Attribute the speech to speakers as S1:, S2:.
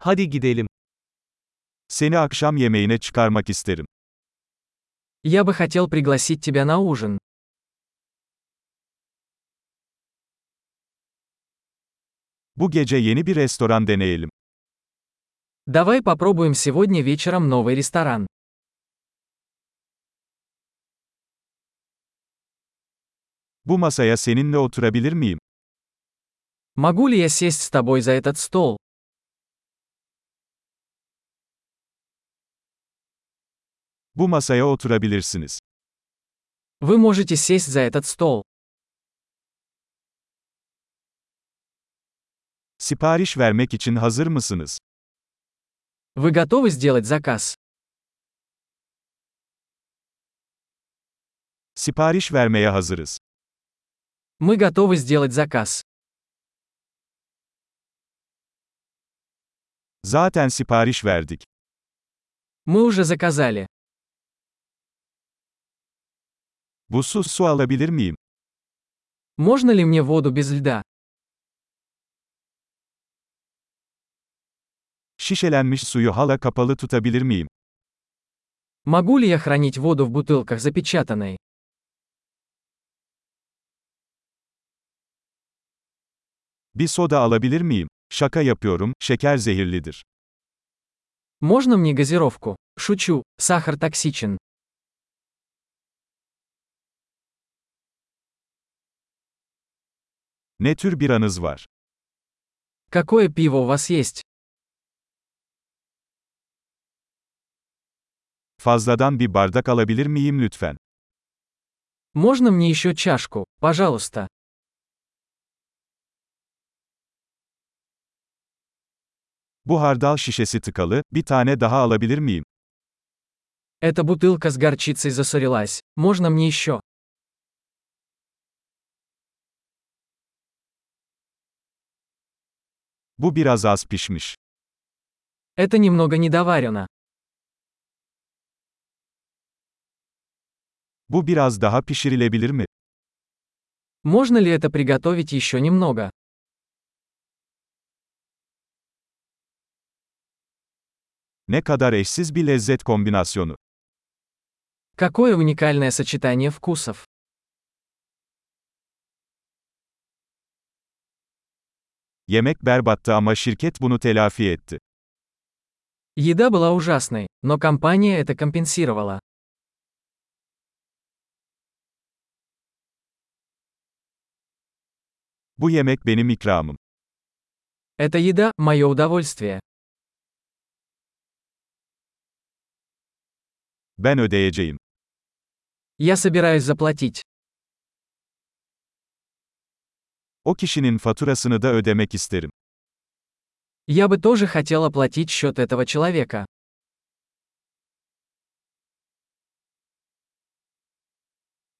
S1: Hadi gidelim.
S2: Seni akşam yemeğine çıkarmak isterim.
S3: Я бы хотел пригласить тебя на ужин.
S2: Bu gece yeni bir restoran deneyelim.
S3: Давай попробуем сегодня вечером новый ресторан.
S2: Bu masaya seninle oturabilir miyim?
S3: Могу ли я сесть с тобой за этот стол?
S2: Bu masaya oturabilirsiniz.
S3: Вы можете сесть за этот стол.
S2: Sipariş vermek için hazır mısınız?
S3: Вы готовы сделать заказ?
S2: Sipariş vermeye hazırız.
S3: Мы готовы сделать заказ.
S2: Zaten sipariş verdik.
S3: Мы уже заказали.
S2: Buzsuz su alabilir miyim?
S3: Можно ли мне воду без льда?
S2: Şişelenmiş suyu hala kapalı tutabilir miyim?
S3: Могу ли я хранить воду в бутылках запечатанной?
S2: Bir soda alabilir miyim? Şaka yapıyorum, şeker zehirlidir.
S3: Можно мне газировку? Шучу, сахар токсичен.
S2: Ne tür bir anız var?
S3: Какое пиво у вас есть?
S2: Fazladan bir bardak alabilir miyim lütfen?
S3: Можно мне еще чашку, пожалуйста?
S2: Bu hardal şişesi tıkalı, bir tane daha alabilir miyim?
S3: Эта бутылка с горчицей засорилась. Можно мне еще?
S2: Bu biraz az pişmiş.
S3: Это немного недоварено.
S2: Bu biraz daha pişirilebilir mi?
S3: Можно ли это приготовить еще немного?
S2: Ne kadar eşsiz bir lezzet kombinasyonu.
S3: Какое уникальное сочетание вкусов.
S2: Yemek berbattı ama şirket bunu telafi etti.
S3: Еда была ужасной, но компания это компенсировала.
S2: Bu yemek benim ikramım.
S3: Эта еда – мое удовольствие.
S2: Ben ödeyeceğim.
S3: Я собираюсь заплатить.
S2: O kişinin faturasını da ödemek isterim.
S3: Я бы тоже хотел оплатить счет этого человека.